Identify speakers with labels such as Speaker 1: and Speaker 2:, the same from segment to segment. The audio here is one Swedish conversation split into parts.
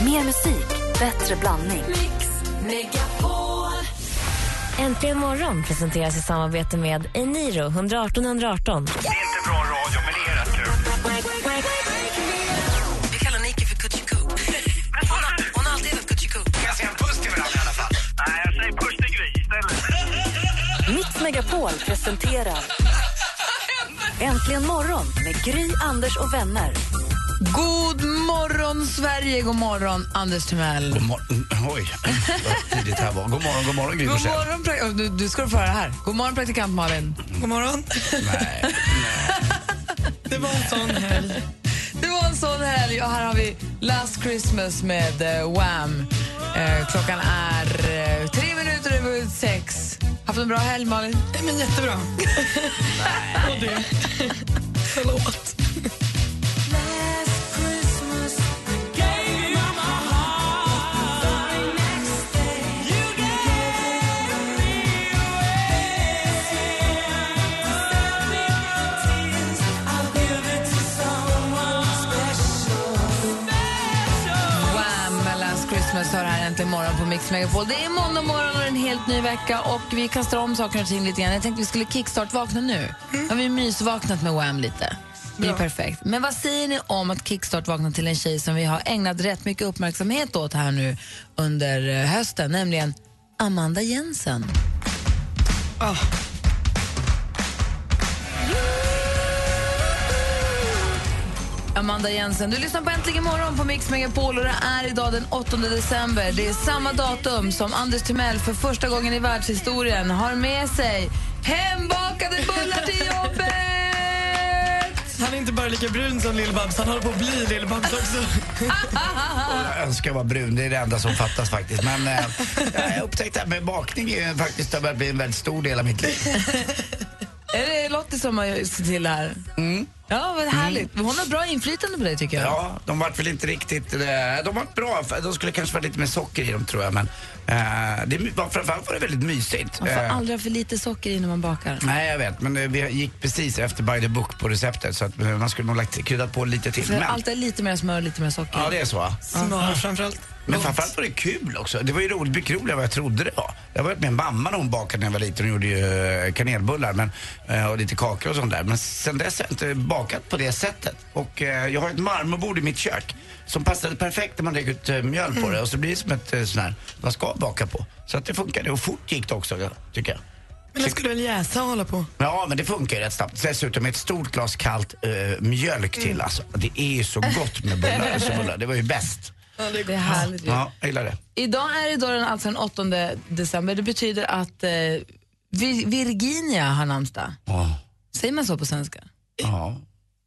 Speaker 1: Mer musik, bättre blandning.
Speaker 2: Mix Megapol.
Speaker 3: Äntligen morgon presenteras i samarbete med Eniro 118 118.
Speaker 4: Det är inte bra radio, men det är rätt kul.
Speaker 5: Vi kallar Nike för Kutjiku. Hon, har- hon har alltid hetat Kutjiku.
Speaker 4: Kan jag säga en puss till varandra i alla fall? Nej, jag säger puss till Gry istället.
Speaker 1: Mix Megapol presenterar Äntligen morgon med Gry, Anders och vänner.
Speaker 6: God morgon, Sverige! God morgon, Anders Timell.
Speaker 7: God morgon. Oj, vad tidigt här var. God morgon, god morgon Gry
Speaker 6: God
Speaker 7: Forssell.
Speaker 6: morgon, pra- oh, du, du ska få höra här. God morgon, praktikant Malin.
Speaker 5: God morgon.
Speaker 7: Nej.
Speaker 6: Det var en sån helg. Det var en sån helg. Och här har vi Last Christmas med eh, Wham. Eh, klockan är eh, tre minuter över sex. Haft en bra helg, Malin?
Speaker 5: Nej, men jättebra. Och du. Förlåt.
Speaker 6: Wham! med Last Christmas har här äntligen morgon på Mix Megapol. Det är måndag morgon och en helt ny vecka och vi kastar om saker och ting lite grann. Jag tänkte vi skulle kickstart-vakna nu. Har vi mysvaknat med Wham lite? Det är perfekt. Men vad säger ni om att kickstart-vakna till en tjej som vi har ägnat rätt mycket uppmärksamhet åt här nu under eh, hösten, nämligen Amanda Jensen. Amanda Jensen. Du lyssnar på Äntligen morgon på Mix Megapol och det är idag den 8 december. Det är samma datum som Anders Timell för första gången i världshistorien har med sig hembakade bullar till jobbet!
Speaker 5: Han är inte bara lika brun som Lill-Babs, han håller på att bli Lill-Babs också.
Speaker 7: Jag önskar vara brun, det är det enda som fattas faktiskt. Men eh, jag upptäckte att med bakning är ju faktiskt har börjat bli en väldigt stor del av mitt liv.
Speaker 6: Är det Lottie som har sett till det här? Ja, vad härligt. Hon har bra inflytande på dig tycker jag.
Speaker 7: Mm. Ja, de vart väl inte riktigt... eh, De vart bra, för de skulle kanske varit lite mer socker i dem tror jag. Men eh, det var, framförallt var det väldigt mysigt.
Speaker 6: Man får
Speaker 7: Eh,
Speaker 6: aldrig ha för lite socker i när man bakar.
Speaker 7: Nej, jag vet. Men eh, vi gick precis efter by the book på receptet så att eh, man skulle nog lagt kryddat på lite till.
Speaker 6: För
Speaker 7: Men,
Speaker 6: Allt är lite mer smör och lite mer socker.
Speaker 7: ja, det är så. va?
Speaker 5: Smör framförallt.
Speaker 7: Ah. Men framförallt var det kul också. Det var ju roligt, mycket roligare än vad jag trodde det var. Jag har varit med mamma när hon bakade när jag var liten. Hon gjorde ju eh, kanelbullar men, eh, och lite kakor och sånt där. Men sen dess har jag inte bakat på det sättet. Och eh, jag har ett marmorbord i mitt kök som passade perfekt när man lägger ut eh, mjöl på det. Och så blir det som ett eh, sån här, man ska baka på. Så att det funkade och fort gick det också, ja, tycker jag.
Speaker 5: Men det skulle väl jäsa och hålla på.
Speaker 7: Ja, men det funkar ju rätt snabbt. Dessutom ett stort glas kallt eh, mjölk till alltså. Det är ju så gott med bullar. så bullar. Det var ju bäst.
Speaker 6: Det är härligt.
Speaker 7: Ja, jag gillar det.
Speaker 6: Idag är det då den, alltså den 8 december. Det betyder att eh, Vir- Virginia har namnsdag.
Speaker 7: Ja.
Speaker 6: Säger man så på svenska?
Speaker 7: Ja.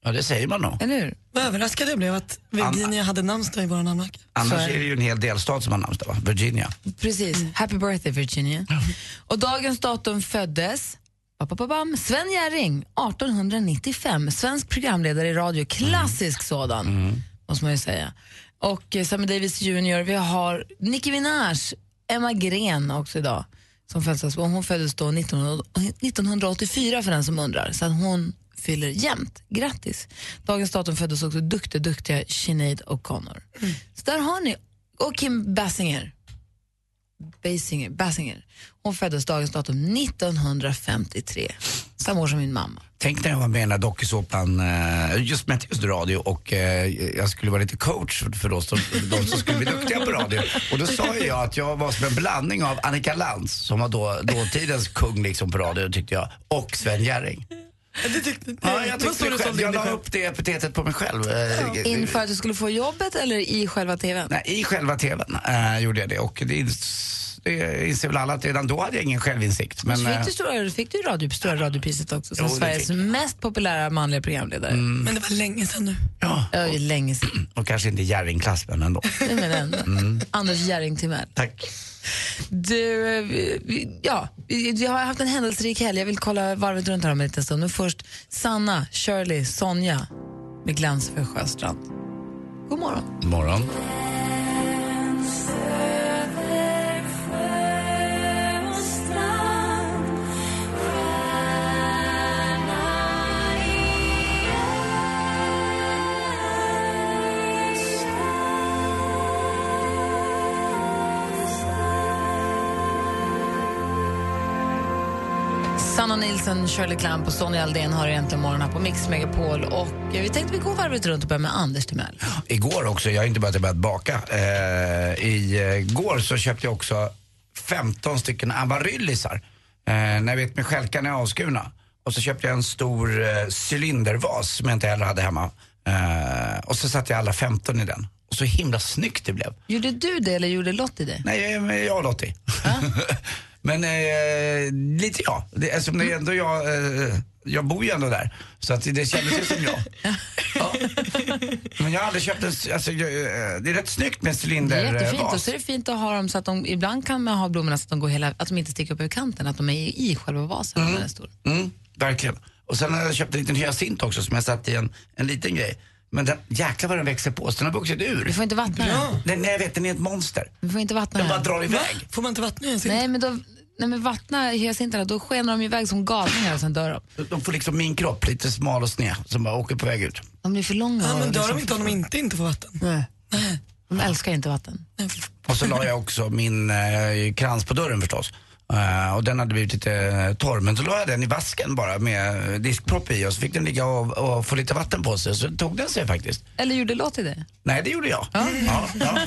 Speaker 7: ja, det säger man nog.
Speaker 6: Eller hur?
Speaker 5: Vad överraskad jag blev att Virginia hade namnsdag i vår namnlacka.
Speaker 7: Annars
Speaker 6: är
Speaker 7: är
Speaker 6: det.
Speaker 7: det ju en hel delstat som har namnsdag, va? Virginia.
Speaker 6: Precis. Happy birthday Virginia. Och dagens datum föddes ba-ba-ba-bam, Sven Jerring 1895. Svensk programledare i radio. Klassisk sådan, måste man ju säga. Och eh, Sammy Davis Jr. Vi har Nicki Minaj, Emma Gren också idag. Som föddes, och hon föddes då 1900 1984 för den som undrar. Så att hon fyller jämnt. Grattis! Dagens datum föddes också duktig, duktiga Sinead O'Connor. Så där har ni. Och Kim Basinger. Basinger, Basinger. Hon föddes dagens datum 1953, samma år som min mamma.
Speaker 7: Tänk när jag var med i den där dokusåpan, eh, just med just radio och eh, jag skulle vara lite coach för- för oss, för de som skulle bli duktiga på radio. Och då sa ju jag att jag var som en blandning av Annika Lantz, som var då, dåtidens kung liksom på radio tyckte jag, och Sven Jerring.
Speaker 5: Det tyckte
Speaker 7: Ja, jag
Speaker 5: det var så
Speaker 7: tyckte
Speaker 5: du
Speaker 7: det själv.
Speaker 5: sålde in
Speaker 7: Jag
Speaker 5: dig
Speaker 7: la
Speaker 5: själv.
Speaker 7: upp det epitetet på mig själv. eh,
Speaker 6: Inför att du skulle få jobbet eller i själva tvn?
Speaker 7: Nej, I själva tvn eh, gjorde jag det och det, ins- det inser väl alla att redan då hade jag ingen självinsikt. Men,
Speaker 6: Så
Speaker 7: eh,
Speaker 6: fick du stora, fick du radio, stora radiopriset också som
Speaker 7: Jo, det
Speaker 6: Sveriges
Speaker 7: fick jag. Mm.
Speaker 6: mest populära manliga programledare.
Speaker 5: Men det var länge sedan nu.
Speaker 7: ja,
Speaker 6: Det var ju länge sedan.
Speaker 7: och kanske inte Jerringklass men ändå.
Speaker 6: Nej, Men ändå.
Speaker 7: Mm.
Speaker 6: Anders Jerring Timell.
Speaker 7: Tack.
Speaker 6: Du, eh, vi- ja, vi vi har haft en händelserik helg. Jag vill kolla varvet runt här om en liten stund. Men först Sanna, Shirley, Sonja med glans för Sjöstrand. God morgon.
Speaker 7: morgon.
Speaker 6: Sanna Nilsson, Shirley Clamp och Sonja Aldén har egentligen morgon här på Mix Megapol. Och eh, vi tänkte vi går varvet runt och börjar med Anders Timell.
Speaker 7: Igår också, jag har inte börjat, börjat baka. Eh, igår så köpte jag också 15 stycken amaryllisar. Eh, när jag vet med stjälkarna är avskurna. Och så köpte jag en stor eh, cylindervas som jag inte heller hade hemma. Eh, och så satte jag alla 15 i den. Och så himla snyggt det blev.
Speaker 6: Gjorde du det eller gjorde Lottie det?
Speaker 7: Nej, jag, jag och Lottie. Men eh, lite jag. Det, eftersom det är ändå jag, eh, jag bor ju ändå där. Så att det kändes ju som jag. Ja. Men jag har aldrig köpt en, s- alltså, jag, eh, det är rätt snyggt med en
Speaker 6: Det är jättefint. Och
Speaker 7: cylindervas.
Speaker 6: så är det fint att ha dem så att de, ibland kan man ha blommorna så att de, går hela, att de inte sticker upp över kanten, att de är i själva vasen. när den är stor.
Speaker 7: Mm, verkligen. Och sen har jag köpt en liten hyacint också som jag satt i en, en liten grej. Men den, jäklar vad den växer på så den har vuxit
Speaker 6: Du
Speaker 7: ur.
Speaker 6: får inte vattna den.
Speaker 7: Den, nej, jag vet, den är ett monster.
Speaker 6: Du får inte vattna
Speaker 7: Den bara
Speaker 6: den.
Speaker 7: drar
Speaker 5: Va?
Speaker 7: iväg.
Speaker 5: Får man inte vattna ens?
Speaker 6: Nej, men, då, nej, men vattna hyacinterna, då skenar de iväg som galningar och sen dör de.
Speaker 7: De får liksom min kropp, lite smal och sned, som bara åker på väg ut.
Speaker 6: De blir för långa.
Speaker 5: Ja,
Speaker 6: av
Speaker 5: men
Speaker 6: det,
Speaker 5: dör
Speaker 6: så-
Speaker 5: de inte om de inte, inte får vatten?
Speaker 6: Nej. De älskar inte vatten.
Speaker 7: Och så la jag också min eh, krans på dörren förstås. Eh, och den hade blivit lite eh, torr, men så la jag den i vasken bara med eh, diskpropp i och så fick den ligga och, och få lite vatten på sig så tog den sig faktiskt.
Speaker 6: Eller gjorde Lottie det?
Speaker 7: Nej, det gjorde jag. Ja, ja.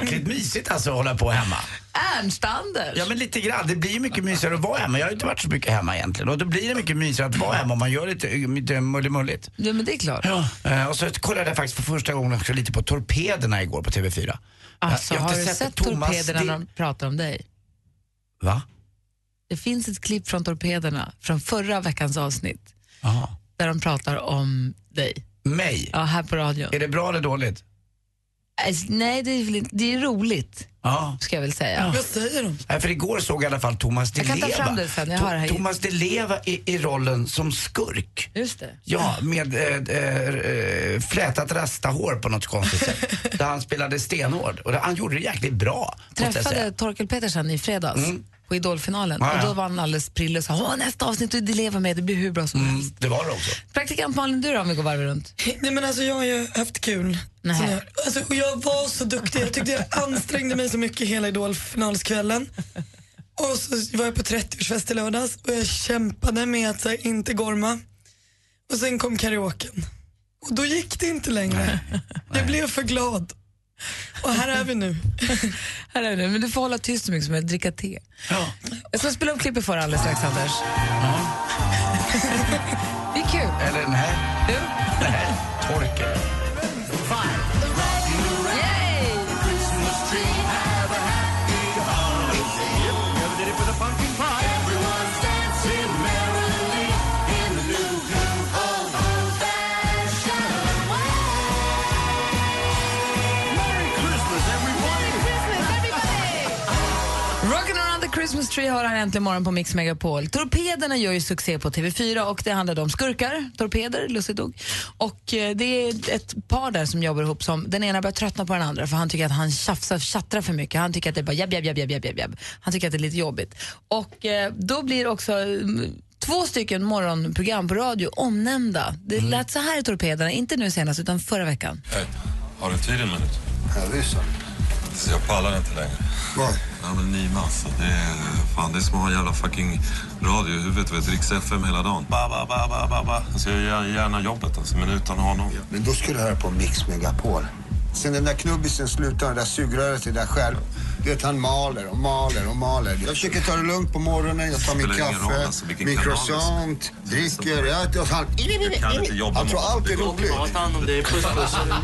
Speaker 7: Jäkligt mysigt alltså att hålla på hemma.
Speaker 6: Ernst Anders!
Speaker 7: Ja, men lite grann. Det blir ju mycket mysigare att vara hemma. Jag har ju inte varit så mycket hemma egentligen. Och då blir det mycket mysigare att vara hemma om man gör lite, lite mullimulligt.
Speaker 6: Ja, men det är klart.
Speaker 7: Ja, eh, och så kollade jag faktiskt för första gången också lite på Torpederna igår på TV4.
Speaker 6: Alltså,
Speaker 7: Jag har
Speaker 6: har
Speaker 7: inte
Speaker 6: du
Speaker 7: sett
Speaker 6: sett
Speaker 7: Thomas
Speaker 6: torpederna
Speaker 7: Di-
Speaker 6: när de pratar om dig?
Speaker 7: Va?
Speaker 6: Det finns ett klipp från torpederna från förra veckans avsnitt
Speaker 7: Aha.
Speaker 6: där de pratar om dig.
Speaker 7: Mig?
Speaker 6: Ja, här på radion.
Speaker 7: Är det bra eller dåligt?
Speaker 6: Alltså, nej, det är, väl inte- det är roligt,
Speaker 7: Ja.
Speaker 6: ska jag väl säga.
Speaker 5: Vad säger de?
Speaker 7: Nej, för igår såg jag i alla fall Thomas Di
Speaker 6: Jag kan ta fram det
Speaker 7: Leva.
Speaker 6: sen, jag
Speaker 7: To-
Speaker 6: har det här i-
Speaker 7: Thomas Di Leva i, i rollen som skurk.
Speaker 6: Just det.
Speaker 7: Ja, med eh, eh, eh, flätat rastahår på något konstigt sätt. Där han spelade stenhård. Och det, han gjorde det jäkligt bra. måste jag
Speaker 6: Träffade
Speaker 7: säga. Mm.
Speaker 6: Torkel Petersen i fredags på Idolfinalen
Speaker 7: Ja, ja.
Speaker 6: och då var han alldeles prillig och sa "Åh, nästa avsnitt du lever med, det blir hur bra som helst.
Speaker 7: Mm, det var det också.
Speaker 6: Praktikant Malin, du då om vi går varv runt?
Speaker 5: Nej men alltså jag har ju haft kul.
Speaker 6: Nej.
Speaker 5: Sån här- Alltså, och jag var så duktig, jag tyckte jag ansträngde mig så mycket hela Idol-finalskvällen. Och så var jag på 30-årsfest i lördags och jag kämpade med att så här, inte gorma. Och sen kom karaoken. Och då gick det inte längre. Jag blev för glad. Och här är vi nu.
Speaker 6: Här är det, men du får hålla tyst så mycket som möjligt, dricka te. Jag ska spela upp klippet för dig alldeles strax, Anders. det är kul.
Speaker 7: Eller den här.
Speaker 6: Du?
Speaker 7: Den här. Torkel.
Speaker 6: Rockin' around the Christmas tree har han äntligen morgon på Mix Megapol. Torpederna gör ju succé på TV4 och det handlade om skurkar, torpeder, lussedog. Och eh, det är ett par där som jobbar ihop som, den ena börjar tröttna på den andra för han tycker att han tjafsar, tjattrar för mycket. Han tycker att det är bara jabb, jabb, jabb, jabb, jabb, jabb, jabb. Han tycker att det är lite jobbigt. Och eh, då blir också mm, två stycken morgonprogram på radio omnämnda. Det lät så här i Torpederna, inte nu senast utan förra veckan.
Speaker 8: Hej. Har du tid en minut?
Speaker 9: Ja, visst.
Speaker 8: Så jag pallar inte längre.
Speaker 9: Vad?
Speaker 8: Ja, men Nima alltså. Det är, fan, det är som att ha en jävla fucking radio i huvudet. Vet, Rix FM hela dagen. Ba, ba, ba, ba, ba, ba. Alltså, jag gör gärna jobbet alltså, men utan honom.
Speaker 9: Men då ska du höra på Mix Megapol. Sen den där knubbisen slutar, det där sugröret är där själv. Du vet, han maler och maler och maler. Jag försöker ta det lugnt på morgonen, jag tar min
Speaker 8: Spelar ingen roll,
Speaker 9: kaffe,
Speaker 8: alltså, vilken
Speaker 9: min
Speaker 8: kanal det är.
Speaker 9: croissant, dricker, äter och han...
Speaker 8: Jag kan inte jobba
Speaker 9: Han tror
Speaker 8: med
Speaker 9: allt är
Speaker 8: honom.
Speaker 9: roligt.
Speaker 10: ta hand om dig. Puss, puss.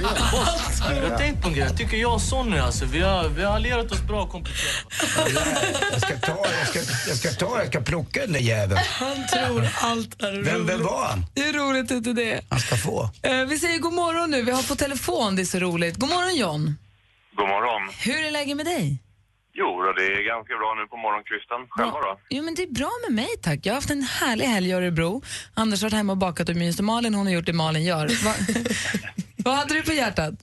Speaker 10: Boss, jag har tänkt på en grej. Jag tycker jag och Sonny, alltså, vi har, vi har allierat oss bra och kompletterat
Speaker 7: Jag ska ta, jag ska, jag ska ta, jag ska plocka den där jäveln.
Speaker 5: Han tror allt är
Speaker 7: Vem,
Speaker 5: roligt.
Speaker 7: vem var han?
Speaker 6: Hur roligt är inte det?
Speaker 7: Han ska få.
Speaker 6: Eh, vi säger god morgon nu, vi har på telefon, det är så roligt. God morgon John!
Speaker 4: God morgon.
Speaker 6: Hur är läget med dig?
Speaker 4: Jo, då, det är ganska bra nu på morgonkryftan. Själva då?
Speaker 6: Jo, men det är bra med mig tack. Jag har haft en härlig helg i Örebro. Anders har varit hemma och bakat och myst och Malin hon har gjort det Malin gör. Va, vad hade du på hjärtat?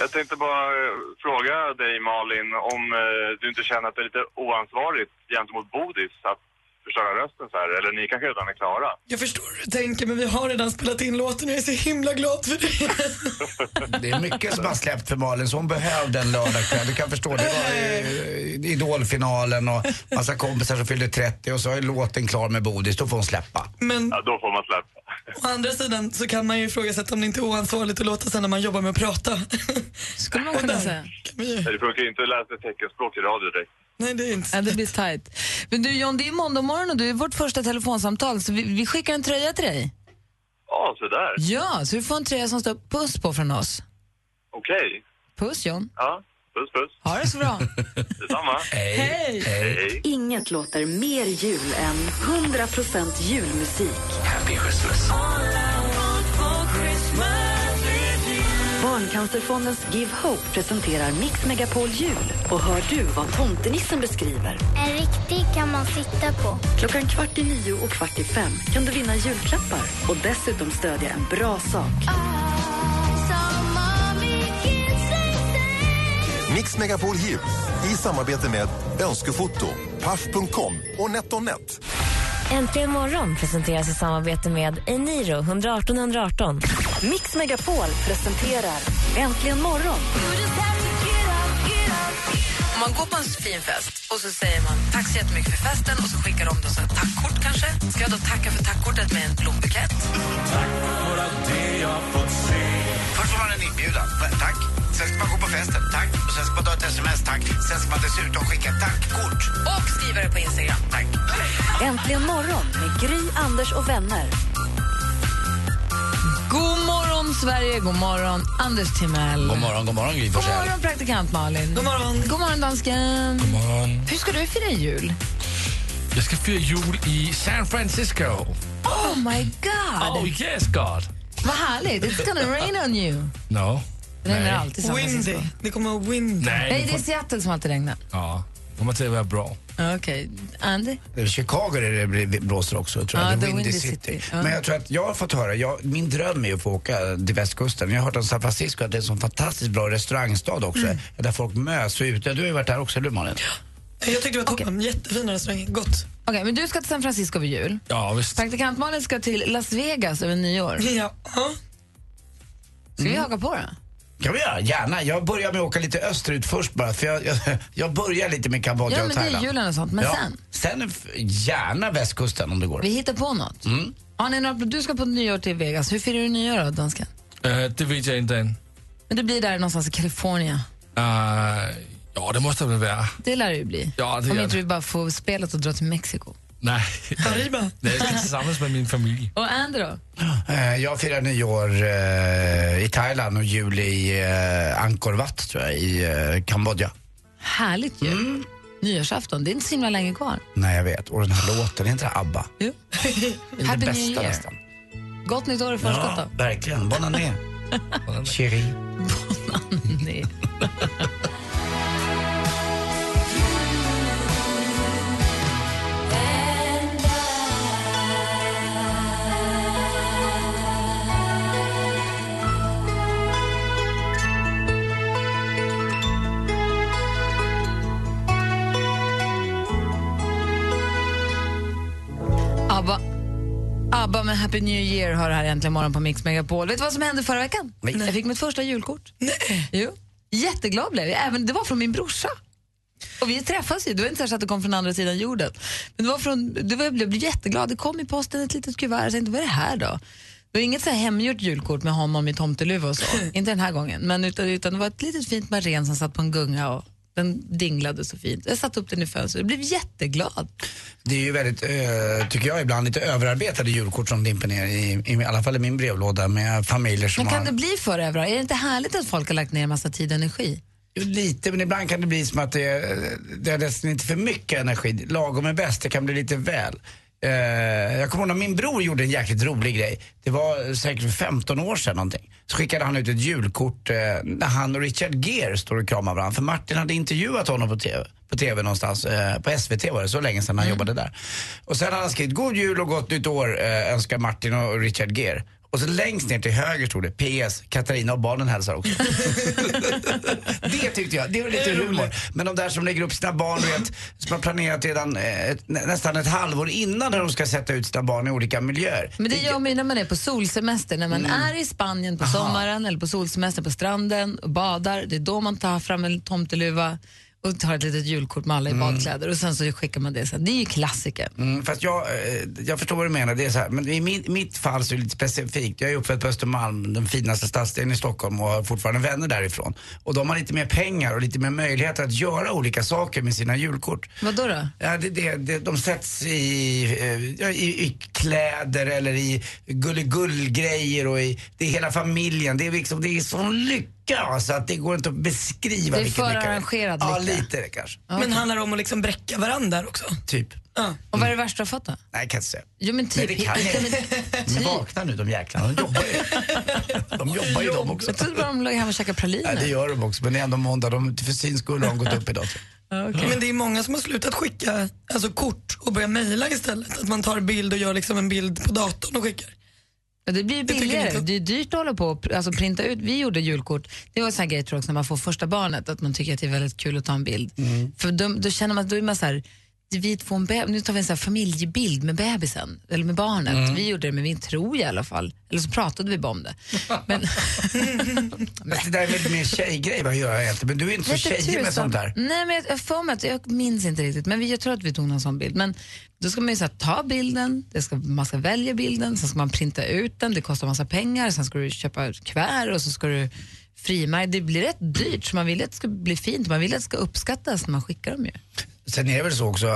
Speaker 4: Jag tänkte bara eh, fråga dig Malin om eh, du inte känner att det är lite oansvarigt gentemot Bodis att köra rösten så här, eller ni kanske redan är klara.
Speaker 5: Jag förstår hur du tänker men vi har redan spelat in låten och jag är så himla glad för det.
Speaker 7: Det är mycket som har släppt för Malin, så hon behövde en lördagkväll. Du kan förstå, det var eh, idolfinalen och massa kompisar som fyllde 30 och så är låten klar med Bodis, då får hon släppa.
Speaker 5: Men
Speaker 4: Ja, då får man släppa.
Speaker 5: å andra sidan så kan man ju ifrågasätta om det inte är oansvarigt att låta sig när man jobbar med att prata.
Speaker 6: Skulle man kunna säga.
Speaker 4: Det funkar ju inte att läsa teckenspråk i radio direkt.
Speaker 5: Nej, det är inte
Speaker 6: ja, det blir tight. Men du John, det är måndag morgon och du är vårt första telefonsamtal så vi, vi skickar en tröja till dig.
Speaker 4: Ja, sådär.
Speaker 6: Ja, så du får en tröja som står puss på från oss.
Speaker 4: Okej.
Speaker 6: Puss John.
Speaker 4: Ja, puss puss.
Speaker 6: Ha det så bra.
Speaker 4: Detsamma.
Speaker 3: Hej.
Speaker 4: Hej.
Speaker 3: Inget låter mer jul än 100% julmusik.
Speaker 11: Happy Christmas.
Speaker 3: Barncancerfondens Give Hope presenterar Mix Megapol Jul. Och hör du vad tomtenissen beskriver?
Speaker 12: En riktig kan man sitta på.
Speaker 3: Klockan kvart i nio och kvart i fem kan du vinna julklappar och dessutom stödja en bra sak.
Speaker 13: Mix Megapol Jul i samarbete med Önskefoto, Paff.com och NetOnNet.
Speaker 14: Äntligen morgon presenteras i samarbete med Eniro 118 118.
Speaker 3: Mix Megapol presenterar Äntligen morgon.
Speaker 6: Om man går på en fin fest och så säger man tack så jättemycket för festen och så skickar de då så ett tackkort kanske. Ska jag då tacka för tackkortet med en blombukett?
Speaker 7: Först får man en inbjudan, Va- tack. Sen ska man gå på festen, tack. Och sen ska man ta ett sms, tack. Sen ska man dessutom skicka ett tackkort.
Speaker 6: Och skriva det på Instagram.
Speaker 7: Tack.
Speaker 3: Äntligen morgon med Gry, Anders och vänner.
Speaker 6: God morgon, Sverige. God morgon, Anders Timell.
Speaker 7: God morgon, god morgon Gry
Speaker 6: God
Speaker 7: Forssell.
Speaker 6: morgon, praktikant Malin. God
Speaker 5: morgon.
Speaker 6: God morgon, dansken. God
Speaker 15: morgon.
Speaker 6: Hur ska du fira jul?
Speaker 15: Jag Um, ska fira jul i San Francisco.
Speaker 7: Ah.
Speaker 6: Oh my god!
Speaker 15: Oh yes God!
Speaker 6: Vad härligt. It's gonna rain on you.
Speaker 15: No.
Speaker 6: Det regnar alltid i San
Speaker 5: Windy.
Speaker 6: Francisco.
Speaker 5: Det kommer att vara windy.
Speaker 15: Nej,
Speaker 6: Nej,
Speaker 15: det
Speaker 6: det är
Speaker 15: får-
Speaker 6: Seattle som alltid regnar.
Speaker 15: Ja, kommer till att vara bra.
Speaker 6: Okej. Andy?
Speaker 7: I Chicago där det blir- blåser också, tror jag.
Speaker 6: Ja,
Speaker 7: The
Speaker 6: The
Speaker 7: Windy,
Speaker 6: Windy
Speaker 7: City.
Speaker 6: City. Ja.
Speaker 7: Men jag tror att jag har fått höra, jag, min dröm är att få åka till västkusten. Jag har hört om San Francisco att det är en sån fantastiskt bra restaurangstad också.
Speaker 5: Mm.
Speaker 7: Där folk möts och är ute. Du har ju varit där också, eller hur Malin?
Speaker 5: Jag tyckte det var toppen. Jättefina restauranger. Gott.
Speaker 6: Okej, men du ska till San Francisco vid jul.
Speaker 15: Ja, visst.
Speaker 6: Praktikant Malin ska till Las Vegas över nyår.
Speaker 5: Ja.
Speaker 6: Ska vi haka på då?
Speaker 7: kan vi göra, gärna. Jag börjar med att åka lite österut först bara. För jag, jag, jag börjar lite med Kambodja
Speaker 6: Ja,
Speaker 7: och
Speaker 6: men det
Speaker 7: Thailand.
Speaker 6: är julen och sånt. Men sen?
Speaker 7: Sen f- gärna västkusten om det går.
Speaker 6: Vi hittar på något.
Speaker 7: Mm.
Speaker 6: Har ni några, du ska på nyår till Vegas. Hur firar du nyår då, dansken?
Speaker 15: Eh, det vet jag inte än.
Speaker 6: Men det blir där någonstans i Kalifornien.
Speaker 15: Eh, ja, det måste det väl vara.
Speaker 6: Det lär det ju bli.
Speaker 15: Ja, det
Speaker 6: Om
Speaker 15: gör
Speaker 6: inte
Speaker 15: det.
Speaker 6: vi bara får spelet och dra till Mexiko.
Speaker 15: Nej. Nej, jag ska tillsammans med min familj.
Speaker 6: Och Andy då?
Speaker 7: Eh, Jag firar nyår eh, i Thailand och jul i eh, Angkor Wat tror jag, i eh, Kambodja.
Speaker 6: Härligt ju. Nyårsafton, det är inte så himla länge kvar.
Speaker 7: Nej, jag vet. Och den här låten, är inte det ABBA?
Speaker 6: Jo.
Speaker 7: Det är det
Speaker 6: Happy New
Speaker 7: bästa
Speaker 6: Year.
Speaker 7: nästan.
Speaker 6: Gott nytt år i förskott då.
Speaker 7: verkligen. Bon année. Chérie.
Speaker 6: Nej. ABBA. ABBA med Happy New Year har det här äntligen morgon på Mix Megapol. Vet du vad som hände förra veckan?
Speaker 7: Nej.
Speaker 6: Jag fick mitt första julkort. Nej. Jo. Jätteglad blev jag. Även, det var från min brorsa. Och vi träffas ju. Det var inte så att det kom från andra sidan jorden. Men det var från, det var, jag blev jätteglad. Det kom i posten ett litet kuvert. Jag tänkte, vad är det här då? Det var inget så här hemgjort julkort med honom i tomteluva och så. inte den här gången. Men utan, utan det var ett litet fint marén som satt på en gunga och den dinglade så fint. Jag satte upp den i fönstret. Jag blev jätteglad.
Speaker 7: Det är ju väldigt, eh, tycker jag ibland, lite överarbetade julkort som dimper ner i, i, i alla fall i min brevlåda med familjer som
Speaker 6: Men kan
Speaker 7: har...
Speaker 6: det bli för överallt? Är det inte härligt att folk har lagt ner massa tid och energi?
Speaker 7: Jo, Lite, men ibland kan det bli som att det är, det är nästan inte för mycket energi. Lagom är bäst, det kan bli lite väl. Eh, jag kommer ihåg när min bror gjorde en jäkligt rolig grej. Det var säkert för 15 år sedan någonting. Så skickade han ut ett julkort eh, när han och Richard Gere står och kramar varandra. För Martin hade intervjuat honom på TV, på TV någonstans. Eh, på SVT var det, så länge sedan han jobbade där. Och sen hade han skrivit God Jul och Gott Nytt År eh, önskar Martin och Richard Gere. Och så längst ner till höger stod det PS, Katarina och barnen hälsar också. det tyckte jag, det var lite humor. Men de där som lägger upp sina barn, du vet, som har planerat redan eh, ett, nä- nästan ett halvår innan när de ska sätta ut sina barn i olika miljöer.
Speaker 6: Men det gör man ju när man är på solsemester. När man
Speaker 7: Mm.
Speaker 6: är i Spanien på sommaren eller på solsemester på stranden och badar. Det är då man tar fram en tomteluva och tar ett litet julkort med alla i badkläder. Och sen så skickar man det sen. Det är ju klassiker.
Speaker 7: Mm, fast jag, eh, jag förstår vad du menar, det är så här, men i min, mitt fall så är det lite specifikt. Jag är uppfödd på Östermalm, den finaste stadsdelen i Stockholm och har fortfarande vänner därifrån. Och de har lite mer pengar och lite mer möjligheter att göra olika saker med sina julkort.
Speaker 6: Vad då? då?
Speaker 7: Ja, det, det, det, de sätts i, eh, ja, i, i kläder eller i gulligullgrejer och i, det är hela familjen. Det är liksom, det är sån lycka så att det går inte att beskriva.
Speaker 6: Det är
Speaker 7: vilken lycka
Speaker 6: förarrangerad
Speaker 7: Ja,
Speaker 6: lycka.
Speaker 7: lite kanske.
Speaker 5: Men handlar det om att liksom bräcka varandra där också?
Speaker 7: Typ.
Speaker 6: Och vad är det värsta du har fått då?
Speaker 7: Nej, jag kan inte säga.
Speaker 6: Jo men typ.
Speaker 7: Men det kan jag
Speaker 6: Ja, men- typ.
Speaker 7: Men vakna nu de jäklarna, de jobbar ju. De jobbar ju de också.
Speaker 6: Jag trodde bara de låg hemma och käkade
Speaker 7: Nej, det
Speaker 6: praliner.
Speaker 7: gör de också, men det är ändå måndag. De, för sin skull har de gått upp idag.
Speaker 5: Men det är många som har slutat skicka alltså, kort och börjat mejla istället. Att man tar bild och gör liksom en bild på datorn och skickar.
Speaker 6: Ja, det blir ju
Speaker 5: Det tycker
Speaker 6: billigare.
Speaker 5: inte jag.
Speaker 6: Det är dyrt att hålla på och pr- alltså, printa ut. Vi gjorde julkort. Det var en sån här grej tror jag också när man får första barnet, att man tycker att det är väldigt kul att ta en bild. För då, då känner man, då är man så här, vi två en beb- nu tar vi en sån här familjebild med bebisen, eller med barnet.
Speaker 2: Mm.
Speaker 6: Vi gjorde det med min tro i alla fall. Eller så pratade vi bara om det. Men,
Speaker 7: Fast det där är väl mer tjejgrej vad jag gör egentligen, men du är inte så
Speaker 6: Vet du
Speaker 7: tjejig
Speaker 6: tusan?
Speaker 7: med sånt där.
Speaker 6: Nej, men jag- jag får mig att, jag minns inte riktigt, men vi, jag tror att vi tog någon sån bild. Men då ska man ju så här, ta bilden, det ska, man ska välja bilden, sen ska man printa ut den, det kostar massa pengar, sen ska du köpa ett kuvert och så ska du frimärka. Det blir rätt dyrt, så man vill ju att det ska bli fint, man vill att det ska uppskattas när man skickar dem ju.
Speaker 7: Sen är det väl så också,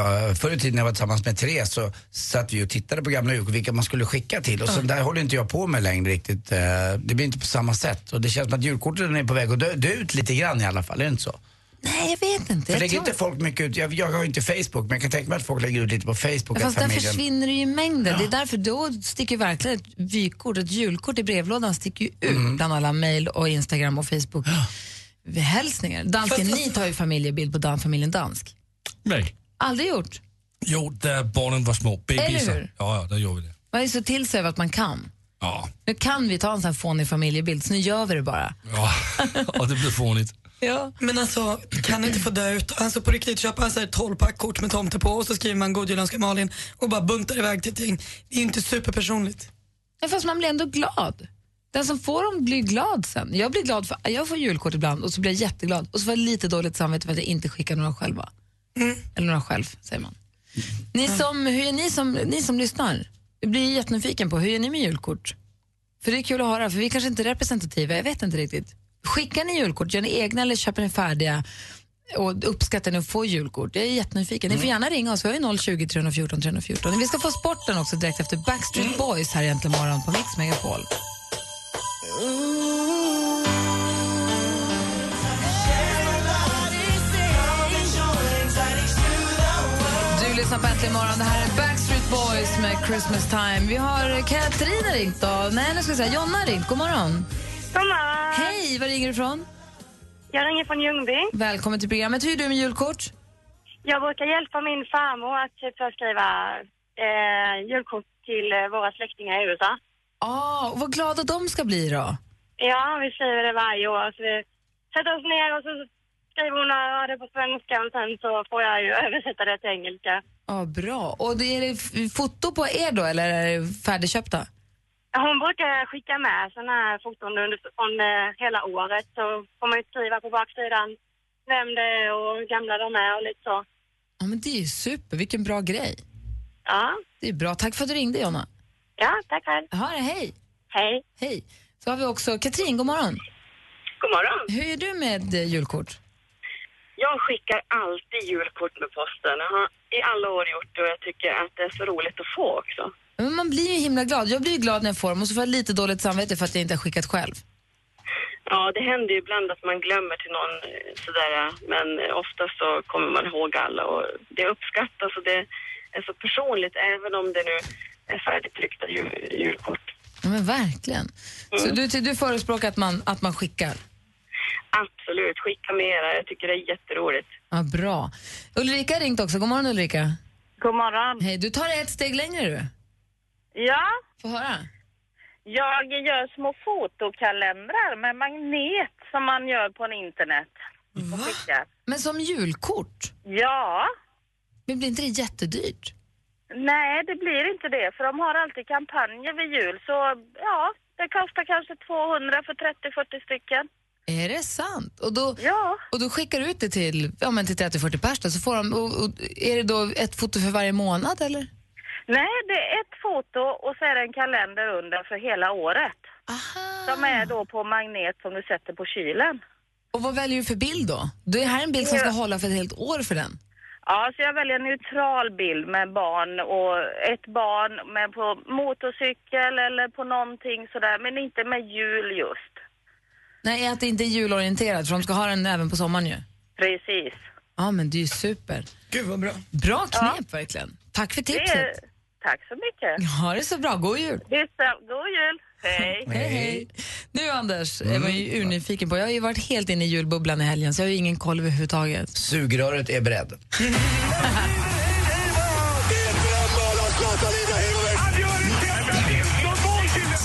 Speaker 7: förr i tiden när jag var tillsammans med Therese så satt vi och tittade på gamla julkort, vilka man skulle skicka till. Och sånt där håller inte jag på med längre riktigt. Eh, Det blir inte på samma sätt. Och det känns som att julkorten är på väg att dö, dö ut lite grann i alla fall, är det inte så?
Speaker 6: Nej, jag vet inte.
Speaker 7: För
Speaker 6: Jag
Speaker 7: lägger
Speaker 6: tror-
Speaker 7: inte folk mycket ut, jag, jag har ju inte Facebook, men jag kan tänka mig att folk lägger ut lite på Facebook.
Speaker 6: Ja,
Speaker 7: att
Speaker 6: Fast där
Speaker 7: familjen-
Speaker 6: försvinner det ju i mängden. Det är därför då sticker verkligen ett vykort, ett julkort i brevlådan sticker ju ut bland alla mejl och Instagram och Facebook. Hälsningar. Dansken, ni tar ju familjebild på Dan, familjen Dansk.
Speaker 16: Nej.
Speaker 6: Aldrig gjort.
Speaker 16: Jo, där barnen var små.
Speaker 6: Eller
Speaker 16: Babysar.
Speaker 6: hur?
Speaker 16: Ja, ja, där gjorde vi det.
Speaker 6: Man är så till sig över att man kan.
Speaker 16: Ja.
Speaker 6: Nu kan vi ta en sån här fånig familjebild, så nu gör vi det bara.
Speaker 16: ja. Och det blev fånigt.
Speaker 6: Ja.
Speaker 5: Men alltså, kan det inte få dö ut? Alltså på riktigt, köpa så här 12 pack kort med tomte på och så skriver man god jul önskar Malin och bara buntar iväg till ett gäng. Det är ju inte superpersonligt.
Speaker 6: Ja, fast man blir ändå glad. Den som får dem blir glad sen. Jag blir glad för jag får julkort ibland och så blir jag jätteglad och så får jag lite dåligt samvete för att jag inte skickar några själva. Eller några själv, säger man. Ni som, hur är ni, som, ni som lyssnar, jag blir jättenyfiken på hur är ni med julkort? För det är kul att höra, för vi kanske inte är representativa, jag vet inte riktigt. Skickar ni julkort, gör ni egna eller köper ni färdiga? Och uppskattar ni att få julkort? Jag är jättenyfiken. Ni får gärna ringa oss, vi har ju 020 314 314. Vi ska få sporten också direkt efter Backstreet Boys här egentligen morgon på Mix Megapol. Du lyssnar på Äntligen morgon. Det här är Backstreet Boys med Christmas time. Vi har Katarina ringt då. Nej, nu ska jag säga Jonna har ringt. God morgon.
Speaker 17: God morgon.
Speaker 6: Hej, var ringer du ifrån?
Speaker 17: Jag ringer från Ljungby.
Speaker 6: Välkommen till programmet. Hur är du med julkort?
Speaker 17: Jag brukar hjälpa min farmor att typ så här skriva eh, julkort till eh, våra släktingar i USA.
Speaker 6: Ja, Ah, och vad glada de ska bli då.
Speaker 17: Ja, vi skriver det varje år. Så vi sätter oss ner och så skriver hon eh, det på svenska och sen så får jag ju översätta det till engelska.
Speaker 6: Ja, bra. Och det är det f- foto på er då, eller är det färdigköpta?
Speaker 17: Hon brukar skicka med såna här foton under från, eh, hela året så får man ju skriva på baksidan vem det är och hur gamla de är och lite så.
Speaker 6: Ja, men det är ju super. Vilken bra grej.
Speaker 17: Ja,
Speaker 6: Det är bra. Tack för att du ringde, Jonna.
Speaker 17: ja tack själv.
Speaker 6: Ha det, hej.
Speaker 17: Hej.
Speaker 6: Hej. Så har vi också Katrin, god morgon.
Speaker 18: God morgon.
Speaker 6: Hur är du med eh, julkort?
Speaker 18: Jag skickar alltid julkort med posten. Jag har i alla år gjort det och jag tycker att det är så roligt att få också.
Speaker 6: Men man blir ju himla glad. Jag blir ju glad när jag får dem och så får jag lite dåligt samvete för att jag inte har skickat själv.
Speaker 18: Ja, det händer ju ibland att man glömmer till någon eh, sådär, eh, men eh, oftast så kommer man ihåg alla och det uppskattas och det är så personligt även om det nu är färdigtryckta Mm. jul, julkort.
Speaker 6: Ja, men verkligen. Så du, ty- du förespråkar att man, att man skickar?
Speaker 18: Absolut, skicka mera. Jag tycker det är jätteroligt.
Speaker 6: Ja, bra. Ulrika har ringt också. God morgon Ulrika.
Speaker 17: God morgon.
Speaker 6: Hej, du tar det ett steg längre du.
Speaker 17: Ja.
Speaker 6: Få höra.
Speaker 15: Jag gör små fotokalendrar med magnet som man gör på internet. Och skickar.
Speaker 6: Men som julkort?
Speaker 15: Ja.
Speaker 6: Men blir inte det jättedyrt?
Speaker 15: Nej, det blir inte det, för de har alltid kampanjer vid jul. Så ja, det kostar kanske 200 för 30-40 stycken.
Speaker 6: Är det sant? Och då, och då skickar du ut det till, ja, men till 30-40 pers då, så får de, och, och, är det då ett foto för varje månad eller?
Speaker 15: Nej, det är ett foto och så är det en kalender under för hela året. Som
Speaker 6: Ah.
Speaker 15: är då på magnet som du sätter på kylen.
Speaker 6: Och vad väljer du för bild då? Det här är en bild som ska hålla för ett helt år för den.
Speaker 15: Ja, så jag väljer en neutral bild med barn och ett barn med på motorcykel eller på någonting sådär, men inte med jul just.
Speaker 6: Nej, att det inte är julorienterat för de ska ha den även på sommaren ju.
Speaker 15: Precis.
Speaker 6: Ja, men det är ju super.
Speaker 5: Gud vad bra.
Speaker 6: Bra knep verkligen. Tack för tipset.
Speaker 15: Det är- Tack så mycket.
Speaker 6: Ha det så bra, god jul.
Speaker 15: Detsamma. God jul. Hej.
Speaker 6: Hej, hej. Nu Anders, jag var ju urnyfiken på, jag har ju varit helt inne i julbubblan i helgen så jag har ju ingen koll överhuvudtaget.
Speaker 7: Sugröret är beredd.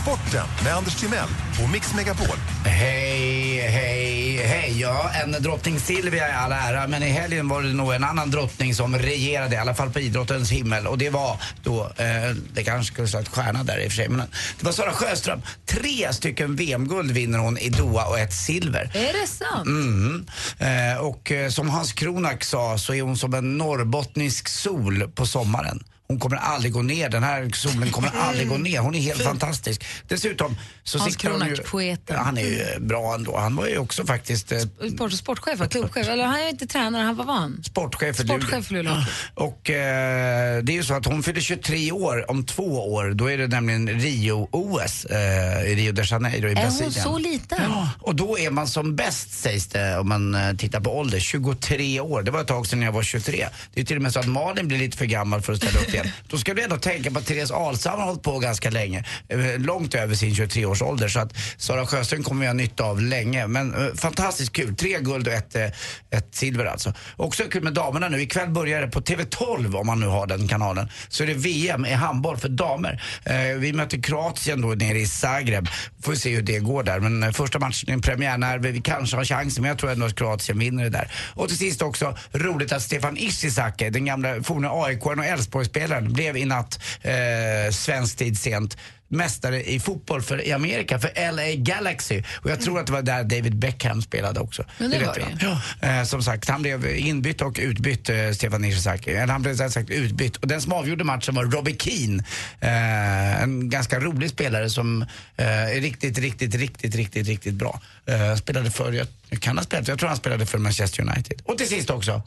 Speaker 19: Sporten med Anders Timell och Mix Megapol.
Speaker 7: Hej, hej, hej. Ja, en drottning Silvia i all ära, men i helgen var det nog en annan drottning som regerade, i alla fall på idrottens himmel. Och det var då, eh, det kanske skulle sagt stjärna där i och för sig, men det var Sara Sjöström. Tre stycken VM-guld vinner hon i Doha och ett silver.
Speaker 6: Är det sant?
Speaker 7: Mm. Eh, och eh, som Hans Kronak sa så är hon som en norrbottnisk sol på sommaren. Hon kommer aldrig gå ner, den här solen kommer aldrig gå ner. Hon är helt fantastisk. Dessutom så
Speaker 6: Mm. Hans
Speaker 7: siktar hon ju...
Speaker 6: Kronak, poeten.
Speaker 7: Ja, Han är ju bra ändå. Han var ju också faktiskt eh,
Speaker 6: Sport, sportchef, va? klubbchef, eller han är ju inte tränare, han, vad var han?
Speaker 7: sportchef för
Speaker 6: Sportchef för Luleå Hockey.
Speaker 7: Och eh, det är ju så att hon fyller 23 år om två år. Då är det nämligen Rio-OS eh, i Rio de Janeiro i
Speaker 6: Är
Speaker 7: Brasilien.
Speaker 6: hon så liten?
Speaker 7: Och då är man som bäst sägs det om man eh, tittar på ålder, 23 år. Det var ett tag sedan jag var 23. Det är till och med så att Malin blir lite för gammal för att ställa upp igen. Då ska du ändå tänka på att Therese Alshammar har hållit på ganska länge. eh, Långt över sin 23-årsålder. Så att Sara Sjöström kommer vi ha nytta av länge. Men eh, fantastiskt kul. Tre guld och ett, eh, ett silver alltså. Också kul med damerna nu. Ikväll börjar det på TV12 om man nu har den kanalen. Så är det VM i handboll för damer. Eh, vi möter Kroatien då nere i Zagreb. Får vi se hur det går där. Men eh, första matchen är en premiärnerve. Vi kanske har chansen men jag tror ändå att Kroatien vinner det där. Och till sist också roligt att Stefan Ishizaki, den gamla forna AIK och Elfsborgsspelaren, blev i natt, eh, svensk tid sent, mästare i fotboll för, i Amerika, för LA Galaxy. Och jag tror att det var där David Beckham spelade också.
Speaker 6: Men det
Speaker 7: vet
Speaker 6: var
Speaker 7: jag.
Speaker 6: det.
Speaker 7: Eh, som sagt, han blev inbytt och utbytt, eh, Stefan Ishizaki. Eller han blev rättare sagt utbytt. Och den som avgjorde matchen var Robbie Keane. Eh, en ganska rolig spelare som eh, är riktigt, riktigt, riktigt, riktigt, riktigt bra. Eh, spelade för, jag kan ha spelat, jag tror han spelade för Manchester United. Och till sist också,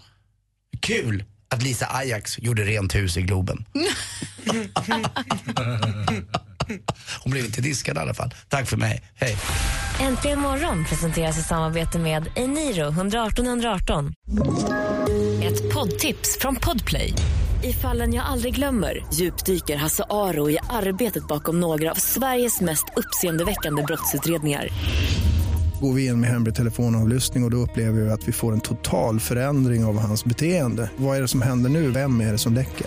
Speaker 7: kul att Lisa Ajax gjorde rent hus i Globen. Hon blev inte diskad i alla fall. Tack för mig, hej.
Speaker 3: Äntligen morgon presenteras i samarbete med Eniro 118 118. Ett poddtips från Podplay. I fallen jag aldrig glömmer djupdyker Hasse Aro i arbetet bakom några av Sveriges mest uppseendeväckande brottsutredningar.
Speaker 20: Går vi in med hemlig telefonavlyssning och, och då upplever vi att vi får en total förändring av hans beteende. Vad är det som händer nu? Vem är det som läcker?